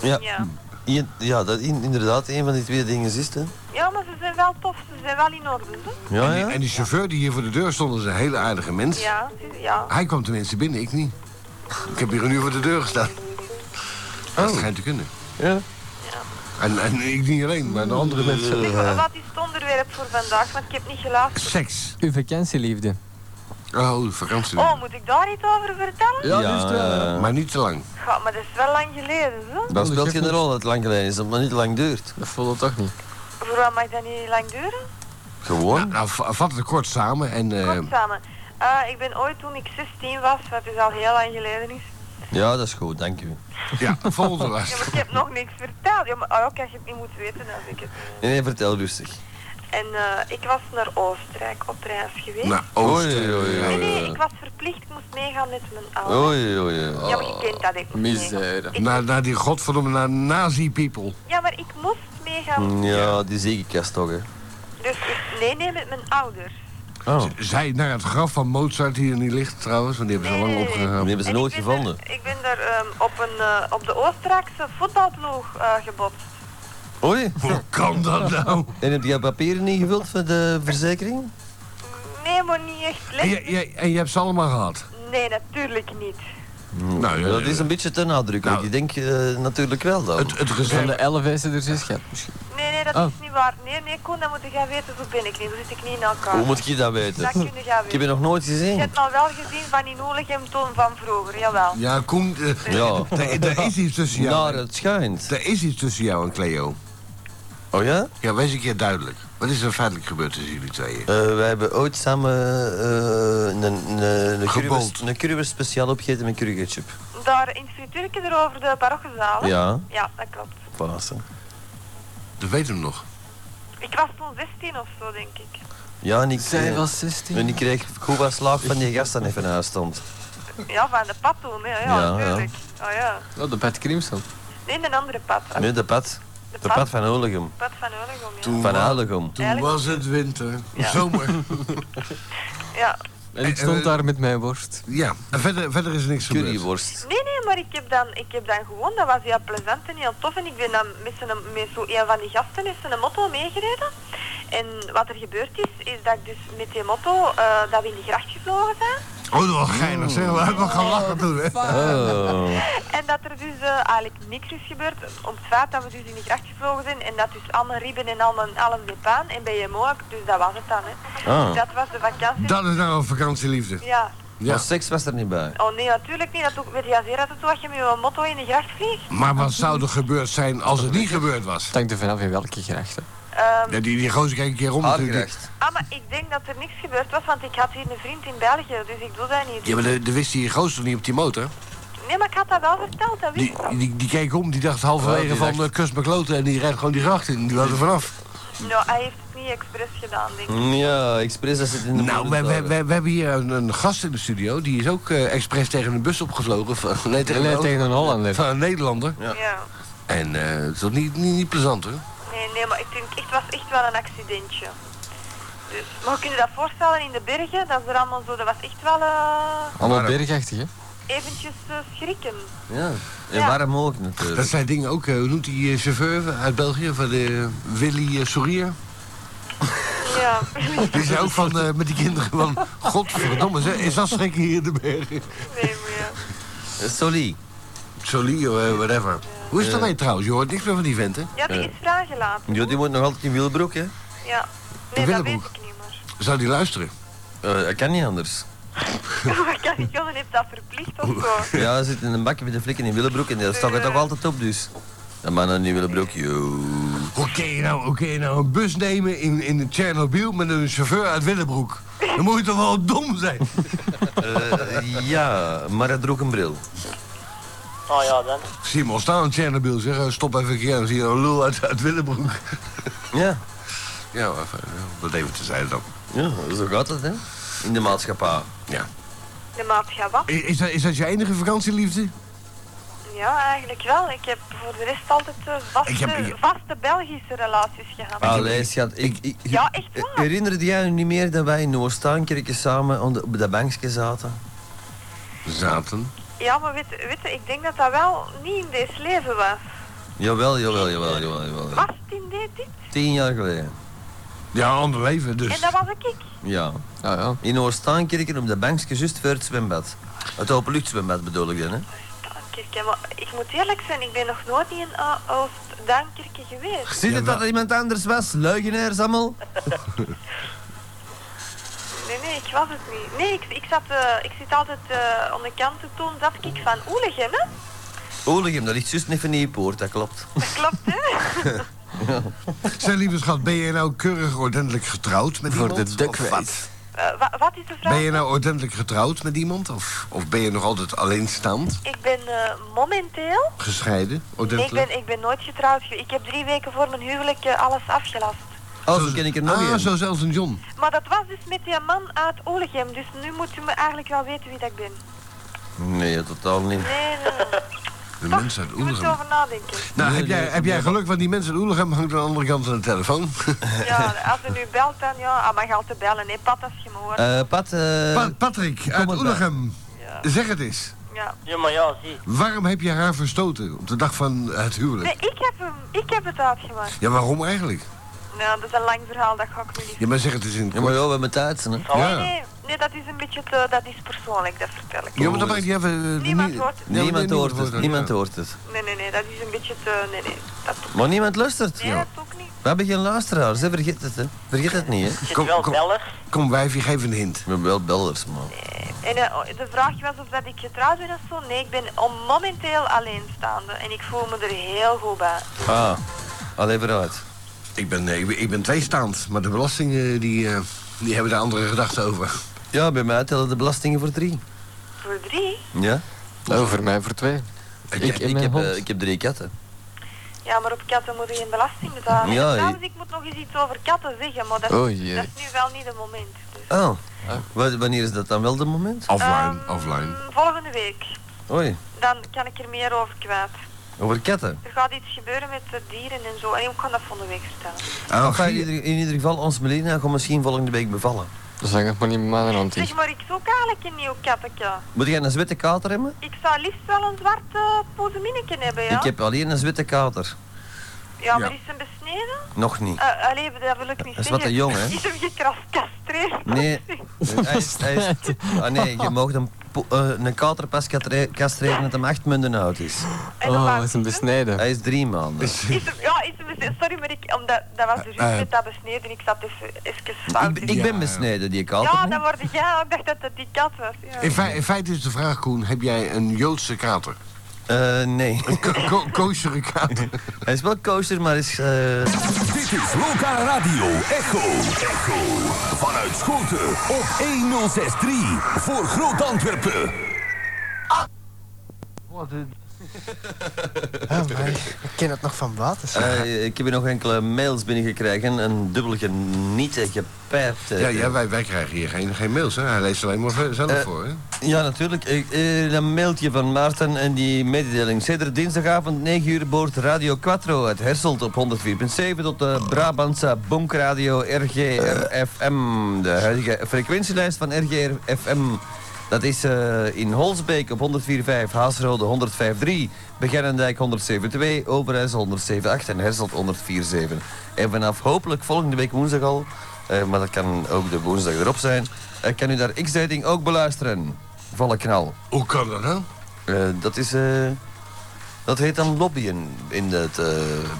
Speaker 1: ja,
Speaker 6: Ja.
Speaker 1: i- ja dat in- inderdaad, een van die twee dingen is het. hè.
Speaker 6: ja, maar ze zijn wel tof. Ze zijn wel in orde. Hè?
Speaker 1: Ja,
Speaker 4: en, die,
Speaker 1: ja.
Speaker 4: en die chauffeur die hier voor de deur stond is een hele aardige mens.
Speaker 6: Ja, ze- ja.
Speaker 4: Hij kwam tenminste binnen, ik niet. Ik heb hier een uur voor de deur gestaan. Dat schijnt te kunnen.
Speaker 1: Oh. Ja.
Speaker 4: En, en ik niet alleen, maar de andere mensen.
Speaker 6: Zeg, wa- wat is het onderwerp voor vandaag? Want ik heb niet geluisterd.
Speaker 4: Seks.
Speaker 3: Uw vakantieliefde.
Speaker 4: Oh, vakantie.
Speaker 6: Oh, moet ik daar iets over vertellen?
Speaker 3: Ja,
Speaker 1: eh,
Speaker 4: Maar niet te lang.
Speaker 6: Ja, maar dat is wel lang geleden, hè?
Speaker 1: dat speelt
Speaker 3: geeft
Speaker 1: geen
Speaker 3: niks.
Speaker 1: rol dat het lang geleden is, dat het maar niet lang duurt.
Speaker 3: Dat voelde toch niet.
Speaker 6: Voor wat mag dat niet lang duren?
Speaker 1: Gewoon?
Speaker 4: Nou, nou, va- vat het kort samen en... eh,
Speaker 6: Kort samen. Ah, ik ben ooit toen ik 16 was, wat dus al heel lang geleden is.
Speaker 1: Ja, dat is goed, dank u.
Speaker 4: ja, volgende
Speaker 6: Ja,
Speaker 4: last.
Speaker 6: maar ik heb nog niks verteld. Ja, maar ook als je het niet moet weten, dan vind ik het. niet.
Speaker 1: Nee, nee, vertel rustig.
Speaker 6: En eh, ik was naar Oostenrijk op reis geweest.
Speaker 4: Nou, oost.
Speaker 1: Oei, oei,
Speaker 6: nee,
Speaker 1: oei.
Speaker 6: nee, ik was verplicht. Ik moest meegaan met mijn ouders.
Speaker 1: Oei, oei, oei.
Speaker 6: Ja, maar je kent dat. Ik moest
Speaker 3: Misère.
Speaker 6: meegaan. Ik-
Speaker 1: Nou,
Speaker 4: Naar, naar die godverdomme naar nazi-people.
Speaker 6: Ja, maar ik moest meegaan.
Speaker 1: Mm, Ja, die zekerkast toch, hè.
Speaker 6: Dus ik, nee, nee, met mijn ouders.
Speaker 1: Oh.
Speaker 4: Zij naar het graf van Mozart die er niet ligt trouwens, want die hebben ze al lang
Speaker 6: Nee, nee, nee.
Speaker 4: opgegraven.
Speaker 1: Die hebben ze
Speaker 6: En ik
Speaker 1: nooit
Speaker 6: ben
Speaker 1: gevonden.
Speaker 6: er- ik ben er ehm, op, een, eh, op de Oostenrijkse voetbalploeg eh, gebotst.
Speaker 1: Oei,
Speaker 4: Hoe kan dat nou?
Speaker 1: en heb jij papieren ingevuld voor de verzekering?
Speaker 6: Nee, maar niet
Speaker 1: Ah,
Speaker 6: echt
Speaker 4: En
Speaker 6: lekker.
Speaker 4: je, je- en je hebt ze allemaal gehad?
Speaker 6: Nee, natuurlijk niet.
Speaker 4: Nou, ja,
Speaker 1: Dat is een beetje te nadrukkelijk.
Speaker 4: Nou.
Speaker 1: Ik denk eh, natuurlijk wel dan.
Speaker 4: Het, het
Speaker 3: Dus Van de
Speaker 4: gezellig.
Speaker 3: 11 is er zes gehad misschien.
Speaker 6: Nee, nee, dat
Speaker 1: Ah.
Speaker 3: Oh.
Speaker 6: is niet waar. Nee, nee, Koen, dat moet je gaan weten. Zo ben ik niet. Zo zit ik niet in elkaar.
Speaker 1: Hoe moet je dat
Speaker 6: Dat
Speaker 1: weten?
Speaker 6: kun je gaan
Speaker 1: Ik heb
Speaker 6: weten.
Speaker 1: je nog nooit
Speaker 6: Je
Speaker 1: gezien.
Speaker 6: hebt al wel gezien van die Noelegem toon van vroeger, jawel.
Speaker 4: Ja, Koen, eh,
Speaker 1: Ja,
Speaker 4: daar daar is iets tussen
Speaker 1: naar
Speaker 4: jou.
Speaker 1: het schijnt.
Speaker 4: Er is iets tussen jou en Cleo.
Speaker 1: Oh ja?
Speaker 4: Ja, wees een keer duidelijk. Wat is er feitelijk gebeurd tussen jullie tweeën?
Speaker 1: Eh, wij hebben ooit samen eh, een, een, een, currywurst-
Speaker 4: Gebold.
Speaker 1: een currywurst speciaal opgegeten met curry ketchup.
Speaker 6: Daar in het frituurke erover de parochiezaal. hè?
Speaker 1: Ja,
Speaker 6: Ja, dat klopt.
Speaker 1: Pasen.
Speaker 4: Dat weet hem nog.
Speaker 6: Ik was toen 16 of zo, denk ik.
Speaker 1: Ja, en ik,
Speaker 3: Zij
Speaker 1: eh,
Speaker 3: was
Speaker 1: en
Speaker 3: 16.
Speaker 1: ik kreeg goed wat slaap van die gast dan even naast stond.
Speaker 6: Ja, van de pad toen, hè.
Speaker 1: Ja, ja.
Speaker 6: Ja, natuurlijk. Oh ja.
Speaker 3: Oh, de Pat Crimson.
Speaker 6: Nee, een andere pad.
Speaker 1: Nee, de pad.
Speaker 6: de
Speaker 1: De pad van Olegum.
Speaker 6: pad van Olegom, ja.
Speaker 1: Van Olegum.
Speaker 4: Toen was het winter.
Speaker 6: Ja.
Speaker 4: Zomer.
Speaker 6: ja.
Speaker 3: En ik
Speaker 4: Eh,
Speaker 3: stond
Speaker 4: eh,
Speaker 3: daar met mijn worst.
Speaker 4: Ja, en verder, verder is er niks gebeurd.
Speaker 1: Currywurst.
Speaker 6: Nee, nee, maar ik heb, dan, ik heb dan gewoon, dat was heel plezant en heel tof. En ik ben dan met, zijn, met zo een van die gasten is een motto meegereden. En wat er gebeurd is, is dat ik dus met die motto, eh, dat we in die gracht gevlogen zijn.
Speaker 4: Oh, dat was geinig zeg. We hebben gelachen toen, hè.
Speaker 1: Oh.
Speaker 6: En dat er dus eh, eigenlijk niks is gebeurd. Om het feit dat we dus in die gracht gevlogen zijn. En dat dus al mijn ribben en al mijn, al mijn paan. En bij JMO ook, dus dat was het dan. Hè. Dus
Speaker 1: Ah.
Speaker 6: Dat was de vakantie.
Speaker 4: Dat is nou een vakantieliefde.
Speaker 6: Ja.
Speaker 4: Ja.
Speaker 1: Maar seks was er niet bij.
Speaker 6: Oh nee, natuurlijk niet. Dat ook, weet je zeer dat het als je met een motto in de gracht vliegt?
Speaker 4: Maar wat zou er gebeurd zijn als het niet gebeurd was?
Speaker 3: Het hangt er vanaf in welke gracht. hè.
Speaker 6: Ehm,
Speaker 4: Ja, die, die gozer kijkt een keer om natuurlijk.
Speaker 1: Aardgerecht.
Speaker 6: Ah, maar ik denk dat er niks gebeurd was, want ik had hier een vriend in België, dus ik doe dat niet.
Speaker 4: Ja, maar dat dat wist die gozer toch niet op die motor?
Speaker 6: Nee, maar ik had dat wel verteld, dat wist
Speaker 4: Die,
Speaker 6: ik. wel.
Speaker 4: die, die keek om, die dacht halverwege
Speaker 1: Ja, die
Speaker 4: van
Speaker 1: dacht-
Speaker 4: eh, kus mijn kloten en die rijdt gewoon die gracht in. Die wilde er vanaf.
Speaker 6: Nou, hij heeft het niet expres gedaan, denk ik.
Speaker 1: Mm, Ja, expres dat zit in de
Speaker 4: Nou, we, we,
Speaker 1: moedertaal.
Speaker 4: we, we hebben hier een, een gast in de studio. Die is ook eh, expres tegen een bus opgevlogen. Van, [laughs] nee, tegen,
Speaker 3: Nee,
Speaker 4: een-
Speaker 3: tegen een Hollander.
Speaker 4: Van een Nederlander.
Speaker 1: Ja.
Speaker 6: Ja.
Speaker 4: En eh, het is toch niet, niet, niet plezant hoor.
Speaker 6: Nee, nee, maar ik denk, echt- het was echt wel een accidentje. Dus, maar kun je dat voorstellen in de bergen? Dat is er allemaal zo, dat was echt wel... eh,
Speaker 3: Allemaal
Speaker 4: Maar-
Speaker 3: bergachtig, hè?
Speaker 6: eventjes eh, schrikken.
Speaker 1: Ja. En
Speaker 6: Ja.
Speaker 1: waarom ook
Speaker 4: Dat
Speaker 1: natuurlijk.
Speaker 4: zijn dingen ook, eh, hoe noemt die eh, chauffeur uit België, van de Willy eh, Sourier? [laughs]
Speaker 6: Ja.
Speaker 4: Die zei ook van, eh, met die kinderen van, [laughs] godverdomme, zeg, is dat schrikken hier in de bergen?
Speaker 6: nee, maar ja.
Speaker 1: Eh, Solie.
Speaker 4: Solie, eh, whatever. Eh. Hoe is het ermee trouwens? Je hoort niks meer van die vent, hè?
Speaker 6: ja, die is vragen gelaten.
Speaker 1: Ja, die moet nog altijd in Wielbroek, hè?
Speaker 6: Ja. Nee, dat weet
Speaker 4: Willebroek.
Speaker 6: ik niet meer. [laughs]
Speaker 4: Zou die luisteren?
Speaker 1: Eh, dat kan niet anders.
Speaker 6: Wat kan ik wel? Heeft dat verplicht of zo?
Speaker 1: Ja, hij zit in een bakje met de flikken in Willebroek en daar stak het toch altijd op, dus. De mannen in Willebroek, yo.
Speaker 4: Hoe kun je nou, hoe kun je nou een bus nemen in, in Tsjernobyl met een chauffeur uit Willebroek? Dan moet je toch wel dom zijn?
Speaker 1: Eh, ja, maar hij droeg een bril.
Speaker 7: Oh ja, dan.
Speaker 4: Ik Zie hem al staan in Tsjernobyl, zeg, eh, stop even een keer, dan zie je een lul uit, uit Willebroek.
Speaker 1: Ja.
Speaker 4: Ja, maar fijn, ja, dat even te zijn dan.
Speaker 1: ja, zo gaat het, hè? In de maatschappij.
Speaker 4: Ja.
Speaker 6: De maat gaat wat?
Speaker 4: I- Is dat, is dat je enige vakantieliefde?
Speaker 6: Ja, eigenlijk wel. Ik heb voor de rest altijd eh, vaste,
Speaker 4: Ik heb- ik- Ah.
Speaker 6: vaste Belgische relaties gehad.
Speaker 1: Allee, schat, ik, ik,
Speaker 6: Ja, echt waar.
Speaker 1: herinnerde jij je niet meer dat wij in Noordstaankerken samen op de- op dat bankje zaten?
Speaker 4: Zaten.
Speaker 6: Ja, maar weet, weet je, ik denk dat dat wel niet in deze leven was.
Speaker 1: Jawel, jawel, jawel, jawel, jawel.
Speaker 6: Was het in dit? dit?
Speaker 4: Dus-
Speaker 1: Tien jaar geleden.
Speaker 4: Ja, ander leven
Speaker 6: En
Speaker 4: dus.
Speaker 6: dat was ik. ik.
Speaker 1: Ja.
Speaker 3: Ja, ja.
Speaker 1: In Noordstaankerken op de bankje juist voor het zwembad. Het openluchtzwembad bedoel ik dan, hè?
Speaker 6: Kijk, hè, Ah, maar ik moet eerlijk zijn, ik ben nog nooit in eh, Oost-Duinkerke geweest.
Speaker 1: Zie je dat er iemand anders was? Leugenaars allemaal?
Speaker 6: Nee, nee, ik was het niet. Nee, ik, ik, zat, eh, ik zit altijd eh, aan de kant te doen dat ik van Oelegem, hè?
Speaker 1: Olegem, dat ligt juist niet van die poort, dat klopt.
Speaker 6: Dat klopt, hè? [laughs]
Speaker 4: Zijn lieve schat, ben je nou keurig ordentelijk getrouwd met iemand? of wat?
Speaker 6: Eh, wa- wat is de vraag?
Speaker 4: Ben je nou ordentelijk getrouwd met iemand? Of, of ben je nog altijd alleenstaand?
Speaker 6: Ik ben eh, momenteel...
Speaker 4: Gescheiden?
Speaker 6: Nee, ik
Speaker 4: Ordentelijk?
Speaker 6: ben, ik ben nooit getrouwd. ge- Ik heb drie weken voor mijn huwelijk eh, alles afgelast.
Speaker 1: Oh, zo ken ik er nog
Speaker 4: Ah,
Speaker 1: een.
Speaker 4: zo zelfs een John.
Speaker 6: Maar dat was dus met die man uit Olegem, dus nu moet je me eigenlijk wel weten wie dat ik ben.
Speaker 1: Nee, totaal niet.
Speaker 6: Nee, nee.
Speaker 4: [laughs] De
Speaker 6: Toch,
Speaker 4: mensen uit
Speaker 6: Je moet
Speaker 4: Oelegem.
Speaker 6: erover nadenken.
Speaker 4: [laughs] Nou,
Speaker 1: Nee,
Speaker 4: heb jij,
Speaker 1: nee,
Speaker 4: heb jij
Speaker 1: nee.
Speaker 4: geluk, want die mensen uit Oelegem hangt aan de andere kant van de
Speaker 1: [laughs]
Speaker 4: telefoon.
Speaker 6: Ja, als je nu belt dan, ja, ah, maar je altijd bellen, nee, Pat, als je me hoort.
Speaker 1: Eh, Pat, eh,
Speaker 4: Pa- Patrick, uit
Speaker 1: maar bij.
Speaker 4: Oelegem.
Speaker 6: Ja.
Speaker 4: Zeg het eens.
Speaker 6: Ja.
Speaker 7: Ja, maar ja, zie.
Speaker 4: Waarom heb je haar verstoten op de dag van het
Speaker 6: Nee,
Speaker 4: huwelijk?
Speaker 6: ik heb, hem, ik heb het uitgemaakt.
Speaker 4: Ja, waarom eigenlijk?
Speaker 6: Nou, dat is een lang verhaal, dat ga ik nu niet
Speaker 4: Ja, maar zeg het eens in het
Speaker 1: ja, maar
Speaker 4: kort.
Speaker 1: ja, we hebben tijd, hè?
Speaker 6: Nee,
Speaker 7: Ja.
Speaker 6: nee, nee, dat is een beetje te, dat is persoonlijk, dat vertel ik.
Speaker 4: Ja, maar dat maakt niet even... eh,
Speaker 6: Niemand hoort het.
Speaker 1: Niemand hoort het, niemand hoort het.
Speaker 6: Nee, nee, nee, dat is een beetje te, nee, nee, dat,
Speaker 1: Maar niemand luistert.
Speaker 6: nee, dat ook niet.
Speaker 1: We hebben geen luisteraars, hè? vergeet het, hè? Vergeet het niet, hè?
Speaker 7: Er zit
Speaker 4: Kom-
Speaker 7: wel
Speaker 4: kom.
Speaker 7: bellers.
Speaker 4: Kom wijfje, geef een hint.
Speaker 1: We hebben wel bellers, man.
Speaker 6: En eh, de vraag was of dat ik getrouwd ben of zo. Nee, ik ben om- momenteel alleenstaande en ik voel me er heel goed bij.
Speaker 1: Ah, alleen vooruit.
Speaker 4: Ik ben, nee, ik ben- ik ben tweestaand, maar de belastingen die, eh, die hebben daar andere gedachten over.
Speaker 1: Ja, bij mij tellen de belastingen voor drie.
Speaker 6: Voor drie?
Speaker 1: Ja?
Speaker 3: Over mij Nou, voor twee. Ik, ik,
Speaker 1: ik, heb, eh, ik heb drie katten.
Speaker 6: Ja, maar op katten moet je geen belasting betalen.
Speaker 1: Ja,
Speaker 6: En trouwens, ik moet nog eens iets over katten zeggen, maar dat,
Speaker 3: Oh, jee.
Speaker 6: dat is nu wel niet het moment. Dus.
Speaker 1: Oh, wa- wanneer is dat dan wel de moment?
Speaker 4: Offline,
Speaker 6: Ehm,
Speaker 4: offline.
Speaker 6: Volgende week.
Speaker 1: Oei,
Speaker 6: Dan kan ik er meer over kwijt.
Speaker 1: over katten.
Speaker 6: Er gaat iets gebeuren met de dieren en zo. En ik kan dat volgende week vertellen.
Speaker 4: Oh, [laughs]
Speaker 1: Enfin, in,
Speaker 4: Guy-
Speaker 1: ieder, in ieder geval, ons Melina gaat misschien volgende week bevallen.
Speaker 3: Dat zeg ik maar niet met mijn hand
Speaker 6: Zeg
Speaker 3: hier.
Speaker 6: maar, ik zoek eigenlijk een nieuw kattetje.
Speaker 1: Moet jij een zwette kater hebben?
Speaker 6: Ik zou liefst wel een zwarte pozeminnetje hebben, ja?
Speaker 1: Ik heb alleen een zwette kater.
Speaker 6: Ja, maar
Speaker 4: Ja.
Speaker 6: is hem besneden?
Speaker 1: Nog niet.
Speaker 6: Eh allee, dat wil ik niet
Speaker 1: Dat is
Speaker 6: zeggen.
Speaker 1: wat een jong, hè?
Speaker 6: [laughs] Is hem gecastreerd?
Speaker 1: Nee, [laughs] hij is, hij is- ah nee, je mag een, po- eh, een kater pas katre- castreren dat hem acht maanden oud is.
Speaker 6: [laughs] En dan
Speaker 3: Oh,
Speaker 6: laat
Speaker 3: dat is een
Speaker 6: ik hem.
Speaker 3: besnijden.
Speaker 1: Hij is drie maanden.
Speaker 6: Is hem- ja, is hem besneden. Sorry, maar ik, omdat, dat was dus
Speaker 4: Eh, eh.
Speaker 6: met dat besneden. Ik zat even, even
Speaker 1: Ik,
Speaker 6: fout. in.
Speaker 1: ik ben besneden, die kater.
Speaker 6: ja,
Speaker 1: hè?
Speaker 6: dan word jij. Ik dacht dat dat die kat was. Ja.
Speaker 4: in, fe- in feite is de vraag, Koen, heb jij een Joodse kater?
Speaker 1: Eh, nee. [laughs]
Speaker 4: Ko- ko- Koosjere kater?
Speaker 1: Hij is wel kosher, maar is... eh,
Speaker 8: Dit is Loka Radio Echo. Echo. Vanuit Schoten op 1063 voor Groot Antwerpen.
Speaker 9: Ah, maar ik ken het nog van buiten. zeg.
Speaker 1: eh, ik heb hier nog enkele mails binnengekregen. Een dubbel genieten, gepijpt. eh.
Speaker 4: Ja, ja wij, wij krijgen hier geen, geen mails, hè? Hij leest alleen maar v- zelf
Speaker 1: Eh,
Speaker 4: voor, hè?
Speaker 1: Ja, natuurlijk. Ik, eh, een mailtje van Maarten en die mededeling. Sedert dinsdagavond 9 uur boort Radio Quattro uit Herselt op 104.7 tot de Brabantse Bonkradio RGRFM. De huidige frequentielijst van RGRFM Dat is eh, in Holsbeek op 104.5, Haasrode 105.3, Beginnendijk 107.2, Overijssel 107.8 en Herselt 104.7. En vanaf hopelijk volgende week woensdag al, eh, maar dat kan ook de woensdag erop zijn, eh, kan u daar X-Dating ook beluisteren. Volle knal.
Speaker 4: Hoe kan dat nou?
Speaker 1: Eh, dat is... eh, dat heet dan lobbyen in het eh,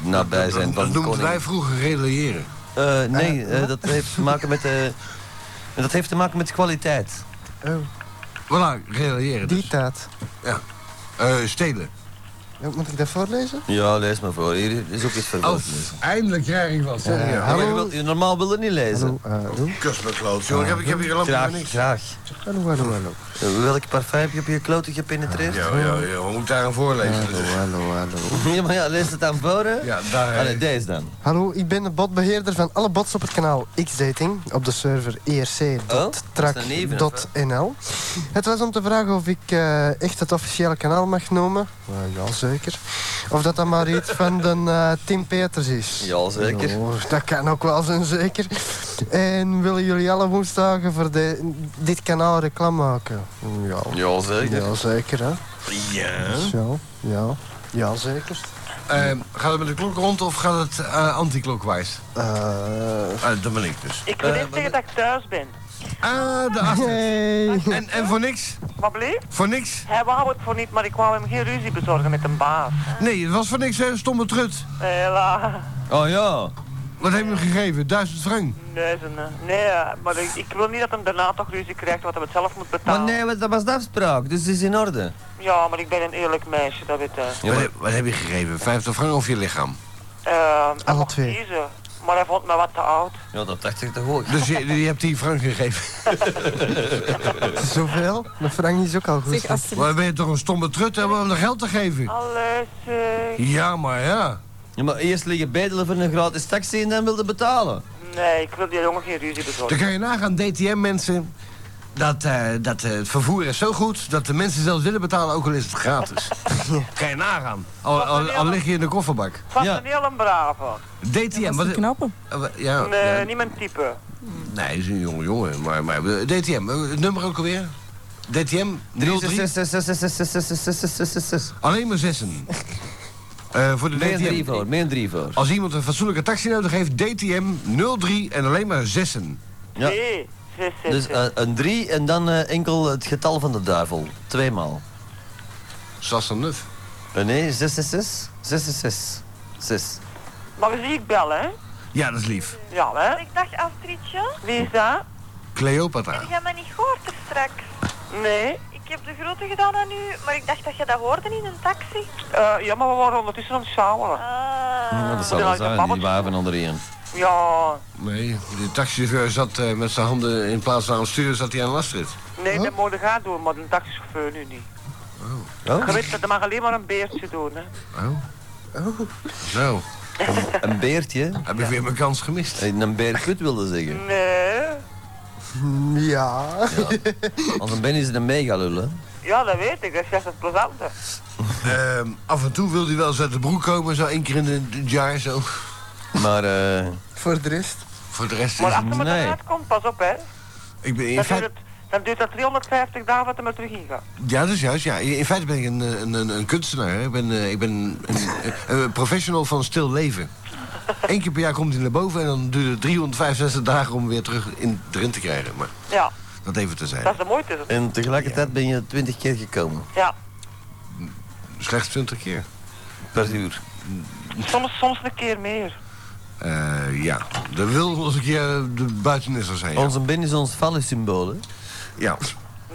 Speaker 1: nabijzijn
Speaker 4: Dat,
Speaker 1: van
Speaker 4: dat
Speaker 1: de
Speaker 4: noemden
Speaker 1: koning.
Speaker 4: wij vroeger relayeren.
Speaker 1: Eh, nee, eh, dat heeft te maken met... eh, dat heeft te maken met kwaliteit.
Speaker 9: Oh,
Speaker 4: Voilà, relayeren.
Speaker 9: die taat.
Speaker 4: Ja. Eh, stelen.
Speaker 9: Ja, Moet ik dat voorlezen?
Speaker 1: Ja, lees maar voor. Hier is ook iets
Speaker 4: Oh,
Speaker 1: vervolgens.
Speaker 4: eindelijk krijg ik wat, zeg
Speaker 9: Eh,
Speaker 4: je.
Speaker 9: hallo?
Speaker 1: normaal wil je niet lezen.
Speaker 9: Hallo, eh, hallo.
Speaker 4: Kus me kloot, joh. Ik heb, ik heb hier helemaal
Speaker 1: Graag,
Speaker 4: niks.
Speaker 1: graag.
Speaker 9: Hallo, hallo, hallo.
Speaker 1: Eh, Welk parfum heb je op je kloten gepenetreerd?
Speaker 4: Ja, ja, ja. We moeten daar een voorlezen.
Speaker 9: Hallo,
Speaker 4: dus.
Speaker 9: hallo, hallo.
Speaker 1: [laughs] Ja, maar ja, lees het aan voren.
Speaker 4: Ja, daar. eh,
Speaker 1: Allee, deze dan.
Speaker 9: Hallo, ik ben de botbeheerder van alle bots op het kanaal Xdating op de server E erc.track.nl. Het was om te vragen of ik eh, echt het officiële kanaal mag noemen. Eh, ja, zeker. Of dat dan maar iets van de eh, Tim Peters is.
Speaker 1: Ja, zeker.
Speaker 9: Ja, dat kan ook wel zijn, zeker. En willen jullie alle woensdagen voor de, dit kanaal reclame maken? Ja,
Speaker 1: Ja, zeker.
Speaker 9: ja zeker hè. Dus Ja. Ja, ja, zeker.
Speaker 4: eh, gaat het met de klok rond of gaat het eh, anti-klokwijs?
Speaker 9: Eh, [laughs]
Speaker 4: Ah, dat ben ik dus.
Speaker 7: Ik
Speaker 1: Eh,
Speaker 7: wil even zeggen dat ik thuis ben.
Speaker 4: Ah, de Astrid.
Speaker 9: hey.
Speaker 4: En, en voor niks?
Speaker 7: Maar bleef?
Speaker 4: Voor niks?
Speaker 7: Hij wou het voor niet, maar ik wou hem geen ruzie bezorgen met een baas.
Speaker 4: Nee, het was voor niks, hè, stomme trut.
Speaker 7: Hela.
Speaker 1: Oh ja.
Speaker 4: Wat heeft hij hem gegeven? Duizend frank.
Speaker 7: Nee, ze- nee, eh, maar ik, ik wil niet dat hem daarna toch ruzie krijgt, want hij het zelf moet
Speaker 1: Maar
Speaker 7: betalen.
Speaker 1: nee, want dat was de afspraak, dus het is in orde.
Speaker 7: Ja, maar ik ben een eerlijk meisje, dat weet je.
Speaker 1: Ja,
Speaker 4: wat,
Speaker 1: maar-
Speaker 4: heb, wat heb je gegeven? Vijftig frank of je lichaam?
Speaker 7: Eh, hij
Speaker 9: Alle
Speaker 7: mocht
Speaker 9: twee.
Speaker 7: kiezen, maar hij vond me wat te oud.
Speaker 1: Ja, dat dacht ik toch ook.
Speaker 4: Dus je, je hebt die frank [laughs] gegeven.
Speaker 9: Zoveel? Mijn frank is ook al goed.
Speaker 10: Zeg,
Speaker 9: hè?
Speaker 10: als
Speaker 4: Maar ben je toch een stomme trut hebben om dat geld te geven?
Speaker 7: Alles, eh,
Speaker 4: Ja, maar ja.
Speaker 1: Ja, maar eerst liggen bedelen voor een gratis taxi en dan wilde betalen.
Speaker 7: nee, ik wil die jongen geen ruzie
Speaker 4: Dan
Speaker 7: bezorgen.
Speaker 4: kan je nagaan, DTM-mensen. Dat, eh, dat eh, het vervoer is zo goed dat de mensen zelfs willen betalen, ook al is het [laughs] gratis. kan je nagaan. Al, al, al lig je in de kofferbak.
Speaker 7: Het was
Speaker 1: Ja. Oh,
Speaker 7: een heel brave.
Speaker 4: DTM,
Speaker 10: was
Speaker 4: wat...
Speaker 10: te knappen.
Speaker 4: eh, wat- Ja,
Speaker 7: Nee,
Speaker 4: ja.
Speaker 7: niet mijn type.
Speaker 4: Nee, hij is een jonge jongen. Maar, maar eh, DTM, eh, het nummer ook alweer? DTM 03.
Speaker 1: 366.
Speaker 4: Alleen maar
Speaker 1: [laughs]
Speaker 4: zessen. Eh, voor de
Speaker 1: Meer een
Speaker 4: DTM.
Speaker 1: drie voor, meer een drie voor.
Speaker 4: Als iemand een fatsoenlijke taxi nodig heeft, DTM 03 en alleen maar zessen.
Speaker 1: Ja.
Speaker 7: Nee, zes, zes,
Speaker 1: Dus
Speaker 7: zes.
Speaker 1: eh, een 3 en dan eh, enkel het getal van de duivel. Tweemaal.
Speaker 4: Sassenuf.
Speaker 1: Eh, nee, 666. 666. 6.
Speaker 7: Maar zie ik bellen, hè?
Speaker 4: Ja, dat is lief.
Speaker 7: Ja, hè?
Speaker 6: Ik dacht Astridje,
Speaker 7: Wie is dat?
Speaker 4: Cleopatra.
Speaker 6: heb jij mij niet gehoord er straks?
Speaker 7: Nee.
Speaker 6: Ik heb de grote gedaan aan u, maar ik dacht dat je dat hoorde in een taxi.
Speaker 7: Eh, ja, maar we waren ondertussen aan het sjouwen.
Speaker 6: Ah.
Speaker 1: dat zal wel zijn, die waven onder één.
Speaker 7: Ja,
Speaker 4: Nee, de taxichauffeur zat eh, met zijn handen in plaats van aan het sturen, zat hij aan lastrit.
Speaker 7: nee, dat moet je gaan doen, maar een taxichauffeur nu niet. Je
Speaker 1: Oh,
Speaker 7: weet dat, dat mag alleen maar een beertje doen, hè.
Speaker 4: Oh.
Speaker 1: Oh.
Speaker 4: Nou,
Speaker 1: een beertje.
Speaker 4: heb ik weer mijn kans
Speaker 1: [laughs]
Speaker 4: gemist.
Speaker 1: Eh, Een beerkut wilde zeggen.
Speaker 7: Nee.
Speaker 9: Ja.
Speaker 1: Als een ben is het een megalul, hè.
Speaker 7: Ja, dat weet ik, dat is juist het plezante.
Speaker 4: Ehm, af en toe wil hij wel eens uit de broek komen, zo één keer in de- het jaar zo.
Speaker 1: Maar eh,
Speaker 9: Voor de rest.
Speaker 4: Voor de rest is
Speaker 7: Maar als hij met
Speaker 1: Nee.
Speaker 7: eruit komt, pas op, hè.
Speaker 4: ik ben in
Speaker 7: Dan duurt,
Speaker 4: feite,
Speaker 7: het, dan duurt dat 350 dagen wat hij maar terug ingaat.
Speaker 4: ja, dat is juist. Ja. In feite ben ik een, eh, een, een, een kunstenaar. hè. Ik ben, eh, ik ben een, eh, een professional van stil leven. Eén keer per jaar komt hij naar boven en dan duurt het 365 dagen om weer terug in, erin te krijgen. Maar
Speaker 7: Ja,
Speaker 4: dat even te
Speaker 7: dat
Speaker 4: zijn.
Speaker 7: is de moeite. zo.
Speaker 1: en tegelijkertijd ben je 20 keer gekomen.
Speaker 7: Ja,
Speaker 4: Slechts 20 keer.
Speaker 1: Per uur.
Speaker 7: soms, soms een keer meer.
Speaker 4: Eh, ja, de wil was een keer eh, de buitenisser zijn.
Speaker 7: Oh.
Speaker 4: Ja.
Speaker 1: Onze ben is ons fallus-symbool, hè.
Speaker 4: ja.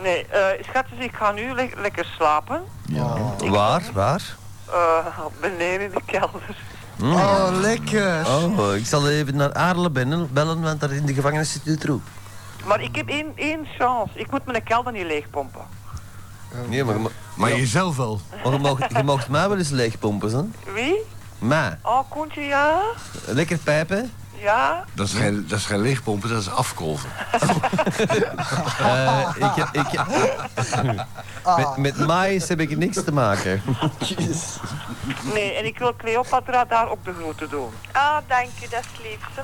Speaker 7: Nee, eh schatjes, ik ga nu le- lekker slapen.
Speaker 1: Oh. Waar, waar?
Speaker 7: Eh, [laughs] beneden in de kelder.
Speaker 9: Oh, lekker.
Speaker 1: Oh, ik zal even naar Aarlen bellen, bellen, want daar in de gevangenis zit nu troep.
Speaker 7: Maar ik heb één, één chance. Ik moet mijn kelder niet leegpompen.
Speaker 1: Nee, maar je mo-
Speaker 4: Maar jezelf wel.
Speaker 1: maar je mag- je mag mij wel eens leegpompen, hè.
Speaker 7: Wie?
Speaker 1: Maar,
Speaker 7: Oh, Koentje, ja?
Speaker 1: lekker pijpen.
Speaker 7: Ja?
Speaker 4: Dat is geen, dat is geen leegpompen, dat is afkolven.
Speaker 1: Eh, ik, ik, met, met maïs heb ik niks te maken.
Speaker 7: Nee, en ik wil Cleopatra daar ook de groeten doen.
Speaker 6: Ah, dank u, dat is lief. hè?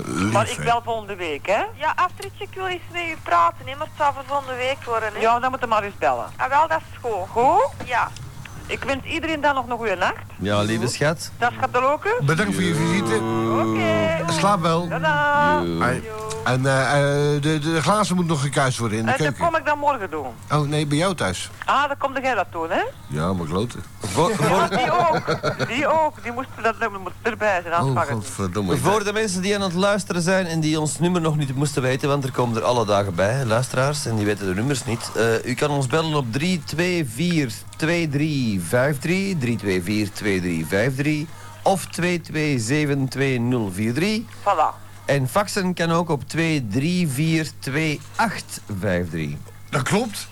Speaker 4: Eh,
Speaker 7: Maar ik bel volgende week, hè?
Speaker 6: Ja, Astridje, ik wil eens met u praten, hè, maar het zou voor volgende week worden. Hè.
Speaker 7: Ja, dan moet je maar eens bellen.
Speaker 6: Ah, wel, dat is goed.
Speaker 7: Goed?
Speaker 6: Ja.
Speaker 7: Ik wens iedereen dan nog een goede nacht.
Speaker 1: Ja, lieve schat.
Speaker 7: Dat gaat de loken.
Speaker 4: Bedankt voor je visite.
Speaker 7: Oké.
Speaker 4: Slaap wel.
Speaker 7: Tada.
Speaker 4: En eh, eh, de, de glazen moet nog gekuist worden in de
Speaker 7: En dat
Speaker 4: keuken.
Speaker 7: kom ik dan morgen doen.
Speaker 4: Oh nee, bij jou thuis.
Speaker 7: Ah, dan komt jij dat doen, hè?
Speaker 4: Ja, maar kloten.
Speaker 1: Voor, voor,
Speaker 7: Die ook. Die ook. Die moest, dat, dat moest erbij zijn,
Speaker 4: Oh,
Speaker 7: anders oh,
Speaker 4: godverdomme.
Speaker 1: voor de mensen die aan het luisteren zijn en die ons nummer nog niet moesten weten, want er komen er alle dagen bij, luisteraars, en die weten de nummers niet. Eh, u kan ons bellen op 324 2353, 324 2353 of 227 2043.
Speaker 7: Voilà.
Speaker 1: En faxen kan ook op 2342853.
Speaker 4: Dat klopt.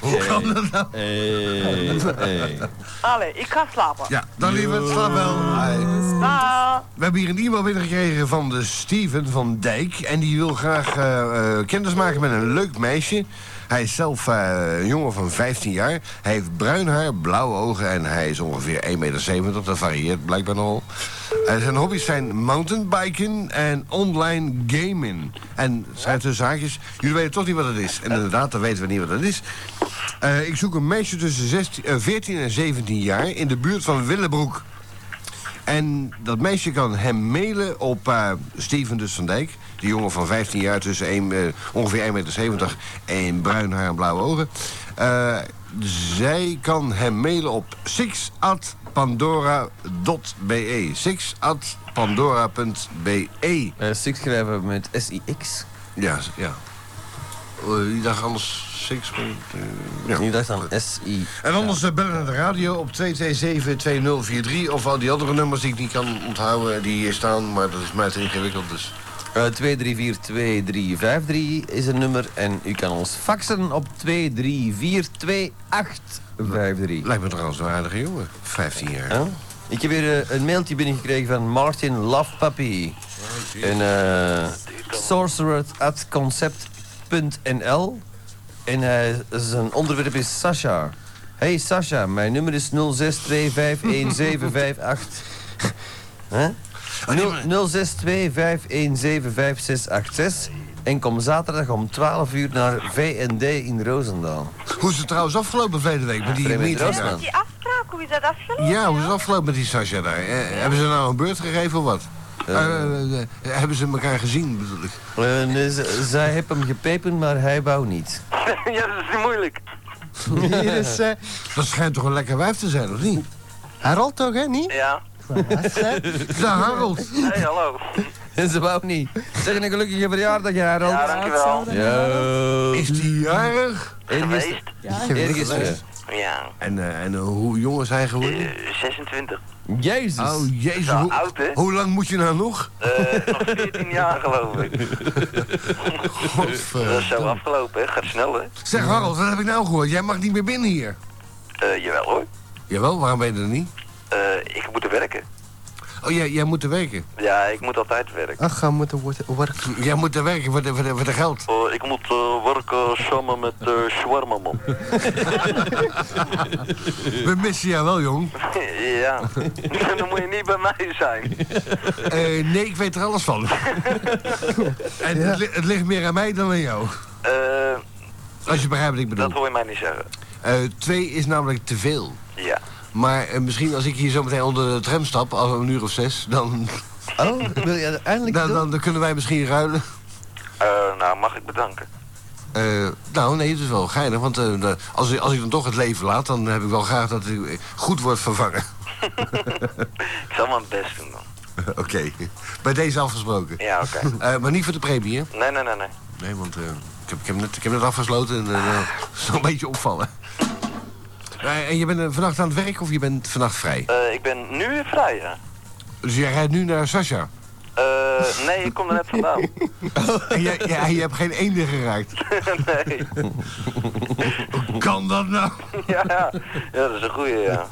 Speaker 4: Hoe kan dat nou?
Speaker 1: Hey, hey.
Speaker 7: Allee, ik ga slapen.
Speaker 4: Ja, dan liever slaap wel.
Speaker 7: Dag.
Speaker 4: We hebben hier een e-mail binnengekregen van de Steven van Dijk. En die wil graag eh, eh, kennis maken met een leuk meisje. Hij is zelf eh, een jongen van 15 jaar. Hij heeft bruin haar, blauwe ogen en hij is ongeveer 1,70 meter. Dat varieert blijkbaar nogal. En zijn hobby's zijn mountainbiken en online gaming. En zijn tussen haakjes, jullie weten toch niet wat het is. En inderdaad, dan weten we niet wat het is. Eh, ik zoek een meisje tussen 16, eh, 14 en 17 jaar in de buurt van Willebroek. En dat meisje kan hem mailen op eh, Steven dus van Dijk. Die jongen van 15 jaar tussen één, eh, ongeveer 1,70 meter en bruin haar en blauwe ogen. Eh, zij kan hem mailen op 6atpandora.be. 6atpandora.be.
Speaker 1: Eh, Six schrijven met S-I-X.
Speaker 4: E. Ja, ja. Eh, Ik dacht anders 6. ja.
Speaker 1: Nu dacht aan S-I.
Speaker 4: En anders eh, bellen naar de radio op 227-2043. Of al die andere nummers die ik niet kan onthouden, eh, die hier staan. Maar dat is mij te ingewikkeld, dus...
Speaker 1: Eh 2342353 is een nummer. En u kan ons faxen op 2342853.
Speaker 4: Lijkt me trouwens een aardige jongen. 15 jaar.
Speaker 1: Huh? Ik heb weer eh, een mailtje binnengekregen van Martin Love Puppy. En eh sorcerer at concept.nl. En hij, zijn onderwerp is Sasha. Hey Sasha, mijn nummer is 06251758. [laughs] Huh? 0625175686. En kom zaterdag om 12 uur naar VND in Roosendaal.
Speaker 4: Hoe is het trouwens afgelopen verleden week met die
Speaker 1: Vreemde
Speaker 4: meeting
Speaker 1: Roosman.
Speaker 4: daar?
Speaker 6: Met die afspraak, hoe is dat afgelopen?
Speaker 4: Ja, hoe is het afgelopen met die Sasha daar? Eh, Hebben ze nou een beurt gegeven of wat? Eh, eh, hebben ze elkaar gezien, bedoel ik?
Speaker 1: Eh, nee, ze- zij heeft hem gepepen, maar hij wou niet.
Speaker 7: ja, dat is moeilijk.
Speaker 9: Hier is eh,
Speaker 4: Dat schijnt toch een lekker wijf te zijn, of niet?
Speaker 9: Harold toch, hè? Niet?
Speaker 7: Ja.
Speaker 4: De Nou, Harold.
Speaker 7: Hey, hallo.
Speaker 1: En [laughs] ze wou niet. Zeg een gelukkige verjaardag, Harold.
Speaker 7: Ja, dankjewel.
Speaker 1: Yo.
Speaker 4: Is die jarig?
Speaker 1: Eergisteren.
Speaker 7: Geweest?
Speaker 1: Eergisteren.
Speaker 7: Ja.
Speaker 4: En, eh, en eh, hoe jong is hij geworden?
Speaker 7: Eh, 26.
Speaker 1: Jezus.
Speaker 4: Oh, jezus.
Speaker 7: Nou,
Speaker 4: hoe-
Speaker 7: oud, hè?
Speaker 4: hoe lang moet je nou nog?
Speaker 7: Eh, nog 14 jaar geloof ik. Dat is zo
Speaker 4: Godverdomme.
Speaker 7: afgelopen, hè. Gaat snel, hè.
Speaker 4: Zeg Harold, wat heb ik nou gehoord? Jij mag niet meer binnen hier.
Speaker 7: Eh, jawel hoor.
Speaker 4: Jawel, waarom ben je er niet?
Speaker 7: Eh, ik moet werken.
Speaker 4: Oh, jij, jij moet er werken.
Speaker 7: Ja, ik moet altijd werken.
Speaker 9: Ach, ga moeten worden. worden.
Speaker 4: Jij moet er werken voor de, voor de, voor de geld.
Speaker 7: Eh, ik moet eh, werken samen met eh shawarma man.
Speaker 4: We missen jou wel, jong.
Speaker 7: [laughs] ja. [laughs] Dan moet je niet bij mij zijn.
Speaker 4: Eh, nee, ik weet er alles [laughs] van. en het, li- het ligt meer aan mij dan aan jou.
Speaker 7: Eh,
Speaker 4: Als je begrijpt wat ik
Speaker 7: dat
Speaker 4: bedoel.
Speaker 7: hoor je mij niet zeggen.
Speaker 4: Eh, twee is namelijk te veel.
Speaker 7: Ja.
Speaker 4: Maar eh, misschien als ik hier zo meteen onder de tram stap, als om een uur of zes, dan,
Speaker 1: Oh, wil je uiteindelijk
Speaker 4: dan,
Speaker 1: doen?
Speaker 4: dan, dan kunnen wij misschien ruilen.
Speaker 7: Eh, nou, mag ik bedanken.
Speaker 4: Eh, nou, nee, het is wel geinig. Want eh, de- als, ik- als ik dan toch het leven laat, dan heb ik wel graag dat ik eh, goed wordt vervangen. [laughs]
Speaker 7: Ik zal mijn best doen dan.
Speaker 4: Oké, bij deze afgesproken.
Speaker 7: Ja, oké.
Speaker 4: Eh, maar niet voor de premie, hè?
Speaker 7: Nee, nee, nee, nee.
Speaker 4: Nee, want eh, ik, heb, ik, heb net, ik heb net afgesloten en eh, [laughs] eh, het is nog een beetje opvallen. Eh, en je bent eh, vannacht aan het werk of je bent vannacht vrij?
Speaker 7: Eh, ik ben nu weer vrij, hè.
Speaker 4: Dus jij rijdt nu naar Sasha.
Speaker 7: Eh, nee, ik kom er net vandaan.
Speaker 4: [laughs] En jij, jij- en je hebt geen eenden geraakt.
Speaker 7: nee.
Speaker 4: Hoe kan dat nou?
Speaker 7: Ja, ja, dat is een goeie, ja.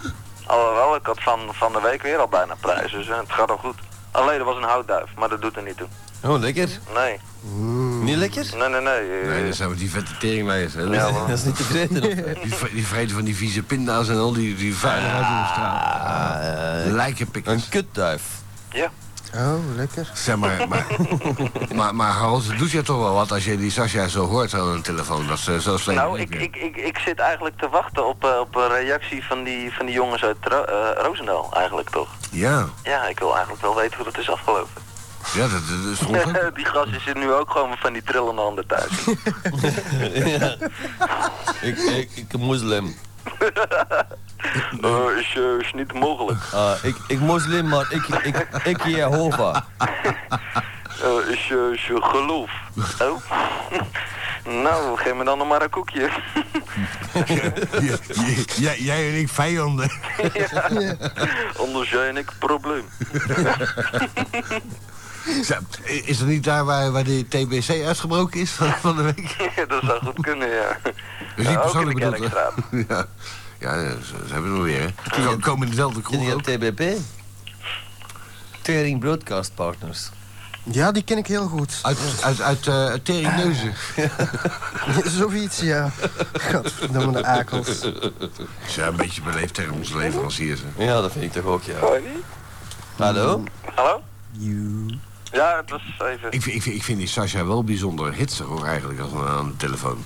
Speaker 7: Alhoewel, ik had van, van de week weer al bijna prijs, dus eh, het gaat al goed. Alleen, er was een houtduif, maar dat doet er niet toe.
Speaker 1: Oh, lekker.
Speaker 7: Nee,
Speaker 1: Niet lekker?
Speaker 7: nee, nee, nee. eh,
Speaker 4: Nee, dat zijn we die vette teringlijers, hè?
Speaker 7: Ja,
Speaker 1: [laughs] Dat is niet tevreden. [laughs] of-
Speaker 4: Die, vre- die vreten van die vieze pinda's en al die, die vuiligheid in de straat.
Speaker 1: Ah, eh,
Speaker 4: Lijkenpikkers.
Speaker 1: een kutduif. [laughs]
Speaker 7: Ja.
Speaker 9: Oh, lekker.
Speaker 4: Zeg maar, [laughs] maar, maar, maar Harold, het doet je toch wel wat als je die Sascha zo hoort aan de telefoon. Dat ze zo slecht
Speaker 2: Nou,
Speaker 4: niet
Speaker 2: ik,
Speaker 4: meer.
Speaker 2: ik, ik, ik zit eigenlijk te wachten op, eh, op een reactie van die, van die jongens uit Ro- eh, Roosendaal eigenlijk toch.
Speaker 4: Ja,
Speaker 2: Ja, ik wil eigenlijk wel weten hoe dat is afgelopen.
Speaker 4: ja dat, dat is
Speaker 2: [laughs]
Speaker 4: toch ongelooflijk.
Speaker 2: die gast is nu ook gewoon van die trillende handen [laughs] thuis.
Speaker 1: ja. ik, ik, ik moslim.
Speaker 2: Eh, is, eh, is niet mogelijk.
Speaker 1: Ah, ik, ik moslim, maar ik, ik, ik Jehovah.
Speaker 2: Eh, is, eh, is je geloof. [laughs] Oh. nou, geef me dan nog maar een koekje. [laughs]
Speaker 4: Je- je- jij- Jij en ik vijanden. [laughs]
Speaker 2: Anders jij en ik probleem. [laughs]
Speaker 4: Zeg, Is dat niet daar waar, waar de TBC uitgebroken is van, van de week?
Speaker 2: dat zou goed kunnen, ja.
Speaker 4: Dus
Speaker 2: Ja,
Speaker 4: niet
Speaker 2: ook
Speaker 4: persoonlijk
Speaker 2: in de
Speaker 4: bedoeld, hè?
Speaker 2: Kerkstraat.
Speaker 4: [laughs] Ja, ja ze, ze hebben het alweer, hè? Ze komen in dezelfde
Speaker 1: Ken
Speaker 4: kroeg
Speaker 1: je
Speaker 4: ook.
Speaker 1: TBP? Tering Broadcast Partners.
Speaker 9: Ja, die ken ik heel goed. [laughs]
Speaker 4: Uit, uit, uit eh
Speaker 2: [laughs]
Speaker 4: Teringneuzen.
Speaker 9: Zoiets, ja. Godverdomme de akels.
Speaker 4: Ze zijn een beetje beleefd tegen onze leveranciers. hè.
Speaker 1: Ja, dat vind ik toch ook, ja.
Speaker 2: Hoi.
Speaker 1: Hallo?
Speaker 2: Hallo? Ja, het was even...
Speaker 4: Ik, vind- ik, vind- ik vind die Sasha wel bijzonder hitsig hoor, eigenlijk, als een- aan de telefoon.